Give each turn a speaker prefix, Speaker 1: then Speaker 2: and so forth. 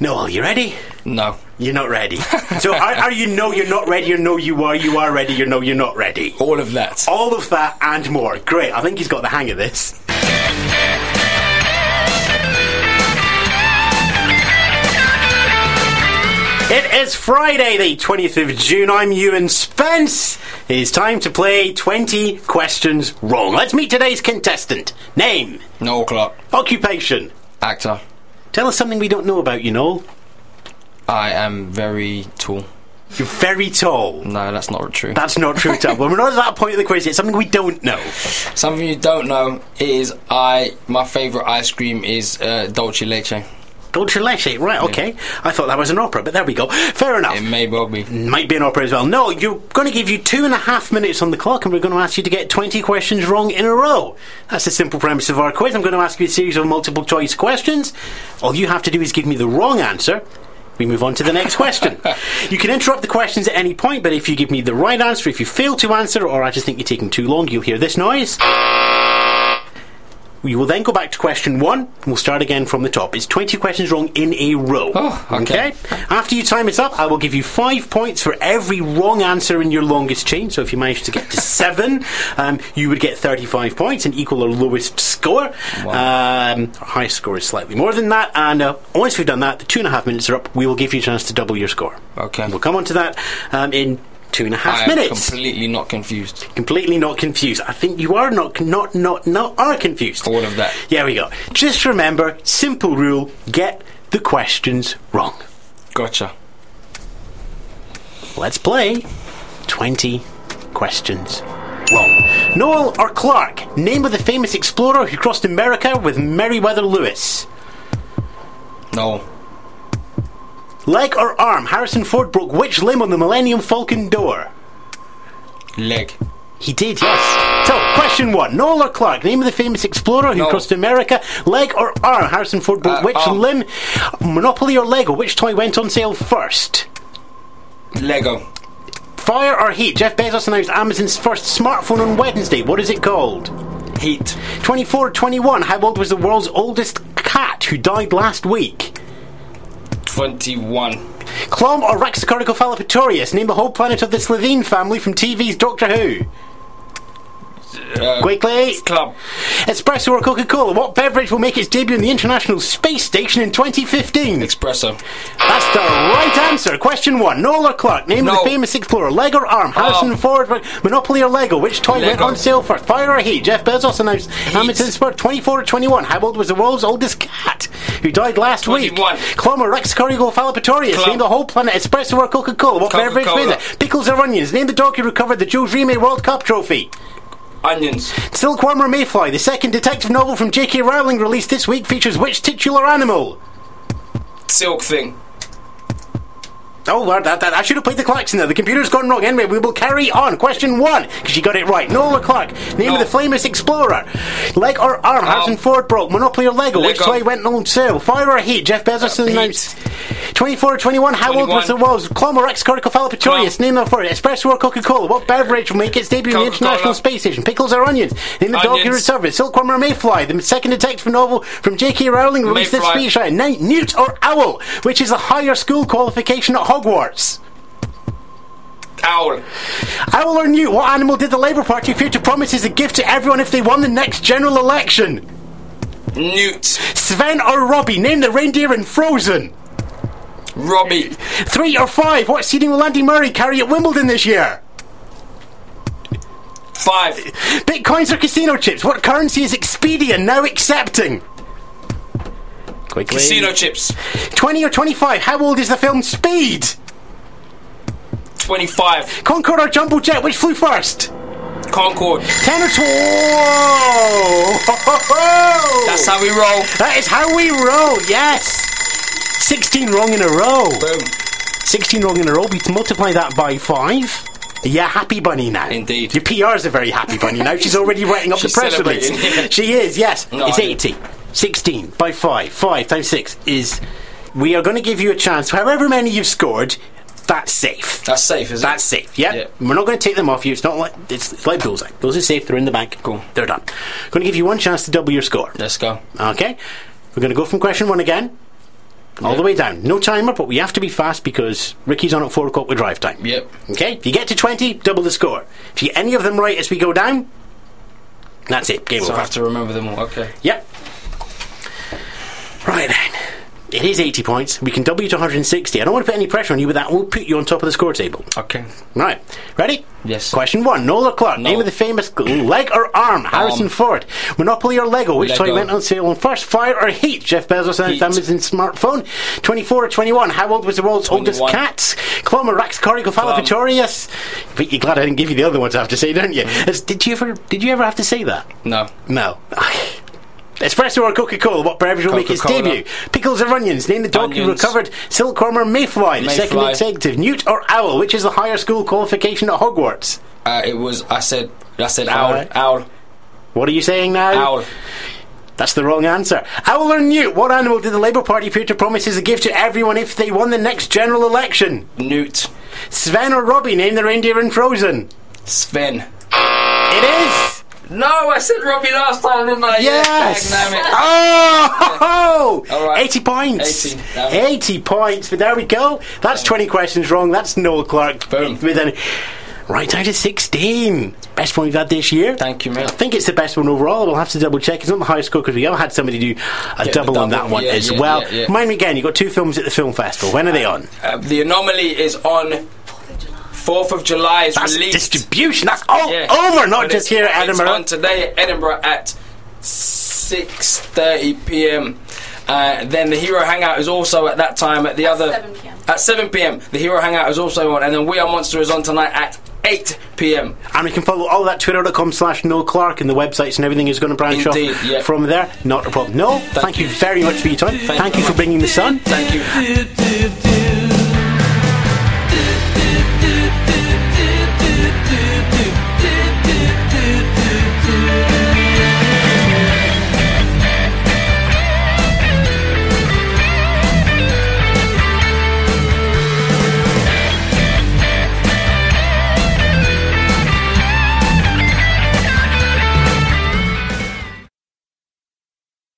Speaker 1: Noel, you ready?
Speaker 2: No.
Speaker 1: You're not ready. so are, are you no, you're not ready, or no, you are, you are ready, or no, you're not ready?
Speaker 2: All of that.
Speaker 1: All of that and more. Great, I think he's got the hang of this. It is Friday, the 20th of June. I'm Ewan Spence. It is time to play 20 questions wrong. Let's meet today's contestant. Name,
Speaker 2: Noel Clark.
Speaker 1: occupation.
Speaker 2: Actor.
Speaker 1: Tell us something we don't know about you, Noel.
Speaker 2: I am very tall.
Speaker 1: You're very tall.
Speaker 2: No, that's not true.
Speaker 1: That's not true, Tom. Well, we're not at that point of the quiz. It's something we don't know.
Speaker 2: Something you don't know is I. My favourite ice cream is uh, Dolce Leche.
Speaker 1: Dolce Leche, right, okay. I thought that was an opera, but there we go. Fair enough.
Speaker 2: It may well be.
Speaker 1: Might be an opera as well. No, you're going to give you two and a half minutes on the clock, and we're going to ask you to get 20 questions wrong in a row. That's the simple premise of our quiz. I'm going to ask you a series of multiple choice questions. All you have to do is give me the wrong answer. We move on to the next question. you can interrupt the questions at any point, but if you give me the right answer, if you fail to answer, or I just think you're taking too long, you'll hear this noise. We will then go back to question one, and we'll start again from the top. It's 20 questions wrong in a row.
Speaker 2: Oh, okay.
Speaker 1: After your time is up, I will give you five points for every wrong answer in your longest chain. So if you manage to get to seven, um, you would get 35 points, an equal or lowest score. Um, our highest score is slightly more than that. And uh, once we've done that, the two and a half minutes are up. We will give you a chance to double your score.
Speaker 2: Okay.
Speaker 1: We'll come on to that um, in two and a half
Speaker 2: I am
Speaker 1: minutes.
Speaker 2: completely not confused.
Speaker 1: completely not confused. I think you are not, not, not, not are confused.
Speaker 2: All of that.
Speaker 1: Yeah, we go. Just remember, simple rule: get the questions wrong.
Speaker 2: Gotcha.
Speaker 1: Let's play. Twenty questions wrong. Noel or Clark? Name of the famous explorer who crossed America with Meriwether Lewis.
Speaker 2: No.
Speaker 1: Leg or arm? Harrison Ford broke which limb on the Millennium Falcon door?
Speaker 2: Leg.
Speaker 1: He did, yes. So, question one. Noel or Clark, name of the famous explorer who
Speaker 2: Noel.
Speaker 1: crossed America, leg or arm? Harrison Ford broke
Speaker 2: Uh,
Speaker 1: which
Speaker 2: arm.
Speaker 1: limb? Monopoly or Lego? Which toy went on sale first?
Speaker 2: Lego.
Speaker 1: Fire or heat? Jeff Bezos announced Amazon's first smartphone on Wednesday. What is it called?
Speaker 2: Heat.
Speaker 1: 24 21. How old was the world's oldest cat who died last week?
Speaker 2: 21.
Speaker 1: Clom or Raxacoricophalopatorius? Name the whole planet of the Slovene family from TV's Doctor Who.
Speaker 2: Uh,
Speaker 1: Quickly.
Speaker 2: club.
Speaker 1: Espresso or Coca Cola? What beverage will make its debut on the International Space Station in 2015?
Speaker 2: Espresso.
Speaker 1: That's the right answer. Question one. Noel or Clark? Name of
Speaker 2: No.
Speaker 1: the famous explorer. Leg or arm? Harrison
Speaker 2: Oh.
Speaker 1: Ford? Monopoly or Lego? Which toy went
Speaker 2: Lego.
Speaker 1: on sale first? Fire or heat? Jeff Bezos announced Hamilton Sport 24 or 21. How old was the world's oldest cat who died last
Speaker 2: 21.
Speaker 1: week? Clom or Rex Corrigo Falapatorius?
Speaker 2: Club.
Speaker 1: Name the whole planet. Espresso or Coca Cola? What beverage
Speaker 2: Coca-Cola.
Speaker 1: made it? Pickles or onions? Name the dog who recovered the Jules Rimet World Cup trophy.
Speaker 2: Onions.
Speaker 1: Silkworm or Mayfly, the second detective novel from J.K. Rowling released this week, features which titular animal?
Speaker 2: Silk thing.
Speaker 1: Oh, well, that, that, I should have played the klaxon there. The computer's gone wrong. Anyway, we will carry on. Question one, because you got it right. Noel Clark, name of
Speaker 2: No.
Speaker 1: the famous explorer. Leg or arm? Harrison Ford broke. Monopoly or Lego? Which
Speaker 2: Lego.
Speaker 1: toy went on sale? Fire or heat? Jeff Bezos
Speaker 2: Uh,
Speaker 1: announced. 24 or 21, how old was the
Speaker 2: 21.
Speaker 1: world's Clom or Excoricophalopatorius?
Speaker 2: Clom.
Speaker 1: Name of for it. Espresso or Coca Cola? What beverage will make its debut in the
Speaker 2: Coca-Cola.
Speaker 1: International Space Station? Pickles or onions? Name the dog who
Speaker 2: Onions.
Speaker 1: recovered. Silkworm or Mayfly? The second detective novel from J.K. Rowling released this
Speaker 2: Mayfly.
Speaker 1: week. Right, Newt, Newt or Owl, which is the higher school qualification at Hogwarts?
Speaker 2: Owl.
Speaker 1: Owl or Newt, what animal did the Labour Party appear to promise as a gift to everyone if they won the next general election?
Speaker 2: Newt.
Speaker 1: Sven or Robbie, name the reindeer in Frozen.
Speaker 2: Robbie.
Speaker 1: Three or five, what seeding will Andy Murray carry at Wimbledon this year?
Speaker 2: Five.
Speaker 1: Bitcoins or casino chips, what currency is Expedia now accepting? Quickly.
Speaker 2: Casino chips.
Speaker 1: 20 or 25, how old is the film Speed?
Speaker 2: 25.
Speaker 1: Concorde or Jumbo Jet, which flew first?
Speaker 2: Concord.
Speaker 1: 10 or 12.
Speaker 2: That's how we roll.
Speaker 1: That is how we roll, yes. 16 wrong in a row.
Speaker 2: Boom.
Speaker 1: 16 wrong in a row. We multiply that by 5. Yeah, happy bunny now.
Speaker 2: Indeed.
Speaker 1: Your PR's a very happy bunny now. She's already writing up
Speaker 2: She's
Speaker 1: the press release.
Speaker 2: celebrating.
Speaker 1: she is, yes.
Speaker 2: No,
Speaker 1: it's
Speaker 2: I mean-
Speaker 1: 80. 16 by 5. 5 times 6 is. We are going to give you a chance. However many you've scored, that's safe.
Speaker 2: That's safe, is
Speaker 1: That's
Speaker 2: it?
Speaker 1: safe. Yeah,
Speaker 2: Yeah.
Speaker 1: we're not going to take them off you. It's not like it's, it's like bullseye. Those are safe. They're in the bank.
Speaker 2: Cool.
Speaker 1: They're done. Going to give you one chance to double your score.
Speaker 2: Let's go.
Speaker 1: Okay. We're going to go from question one again. all the way down. No timer, but we have to be fast because Ricky's on at 4 o'clock with drive time.
Speaker 2: Yep.
Speaker 1: Okay? If you get to 20, double the score. If you get any of them right as we go down, that's it. Game
Speaker 2: So I
Speaker 1: over.
Speaker 2: have to remember them all. Okay.
Speaker 1: Yep. Right then. It is 80 points. We can double you to 160. I don't want to put any pressure on you, but that will put you on top of the score table.
Speaker 2: Okay.
Speaker 1: Right. Ready?
Speaker 2: Yes.
Speaker 1: Question one. Nola Clark. Name
Speaker 2: Noel.
Speaker 1: of the famous gl- leg or arm? Harrison Ford. Monopoly or Lego? Which toy
Speaker 2: Lego.
Speaker 1: went on sale on first? Fire or heat? Jeff Bezos and
Speaker 2: Heat.
Speaker 1: Amazon smartphone. 24 or 21? How old was the world's oldest
Speaker 2: 21.
Speaker 1: cat? Clom or Rax Coricophallopitorius? But you're glad I didn't give you the other ones I have to say, don't you?
Speaker 2: Mm-hmm.
Speaker 1: As- Did you ever? Did you ever have to say that?
Speaker 2: No.
Speaker 1: No. Espresso or Coca Cola, what beverage will make its
Speaker 2: Coca-Cola.
Speaker 1: debut? Pickles or onions? Name the dog who
Speaker 2: Onions.
Speaker 1: recovered silkworm or mayfly, the second
Speaker 2: Mayfly.
Speaker 1: executive. Newt or owl? Which is the higher school qualification at Hogwarts?
Speaker 2: Uh, it was. I said. I said
Speaker 1: Fly.
Speaker 2: owl. Owl.
Speaker 1: What are you saying now?
Speaker 2: Owl.
Speaker 1: That's the wrong answer. Owl or newt? What animal did the Labour Party appear to promise as a gift to everyone if they won the next general election?
Speaker 2: Newt.
Speaker 1: Sven or Robbie? Name the reindeer in Frozen.
Speaker 2: Sven.
Speaker 1: It is.
Speaker 2: No, I said Robbie last time, didn't I?
Speaker 1: Yes.
Speaker 2: Yeah, damn it.
Speaker 1: Oh,
Speaker 2: All right.
Speaker 1: 80 points.
Speaker 2: 80,
Speaker 1: 80,
Speaker 2: damn it.
Speaker 1: points. But there we go. That's 20 questions wrong. That's Noel Clark.
Speaker 2: Boom.
Speaker 1: With an, right down to 16. Best one we've had this year.
Speaker 2: Thank you, mate.
Speaker 1: I think it's the best one overall. We'll have to double check. It's not the highest score because we have had somebody do a
Speaker 2: the
Speaker 1: double on
Speaker 2: double.
Speaker 1: that one
Speaker 2: Yeah,
Speaker 1: as
Speaker 2: yeah,
Speaker 1: well.
Speaker 2: yeah, yeah.
Speaker 1: Remind me again, you've got two films at the film festival. When are they on?
Speaker 2: Uh, the anomaly is on. 4th of July is
Speaker 1: That's
Speaker 2: released.
Speaker 1: distribution. That's all
Speaker 2: Yeah.
Speaker 1: over, not
Speaker 2: But
Speaker 1: just
Speaker 2: it's-
Speaker 1: here at
Speaker 2: It's
Speaker 1: Edinburgh.
Speaker 2: on today at Edinburgh at 6:30 p.m. Uh, then the Hero Hangout is also at that time at the other
Speaker 3: 7 p.m..
Speaker 2: at 7 p.m. The Hero Hangout is also on, and then We Are Monster is on tonight at 8 p.m.
Speaker 1: And we can follow all that twitter.com slash Noel Clark and the websites and everything is going to branch
Speaker 2: Indeed,
Speaker 1: off
Speaker 2: yeah.
Speaker 1: from there. Not a problem. No, thank, you very much for your time. Thank,
Speaker 2: you
Speaker 1: you
Speaker 2: very
Speaker 1: for
Speaker 2: much.
Speaker 1: bringing the sun.
Speaker 2: Thank you.
Speaker 4: It's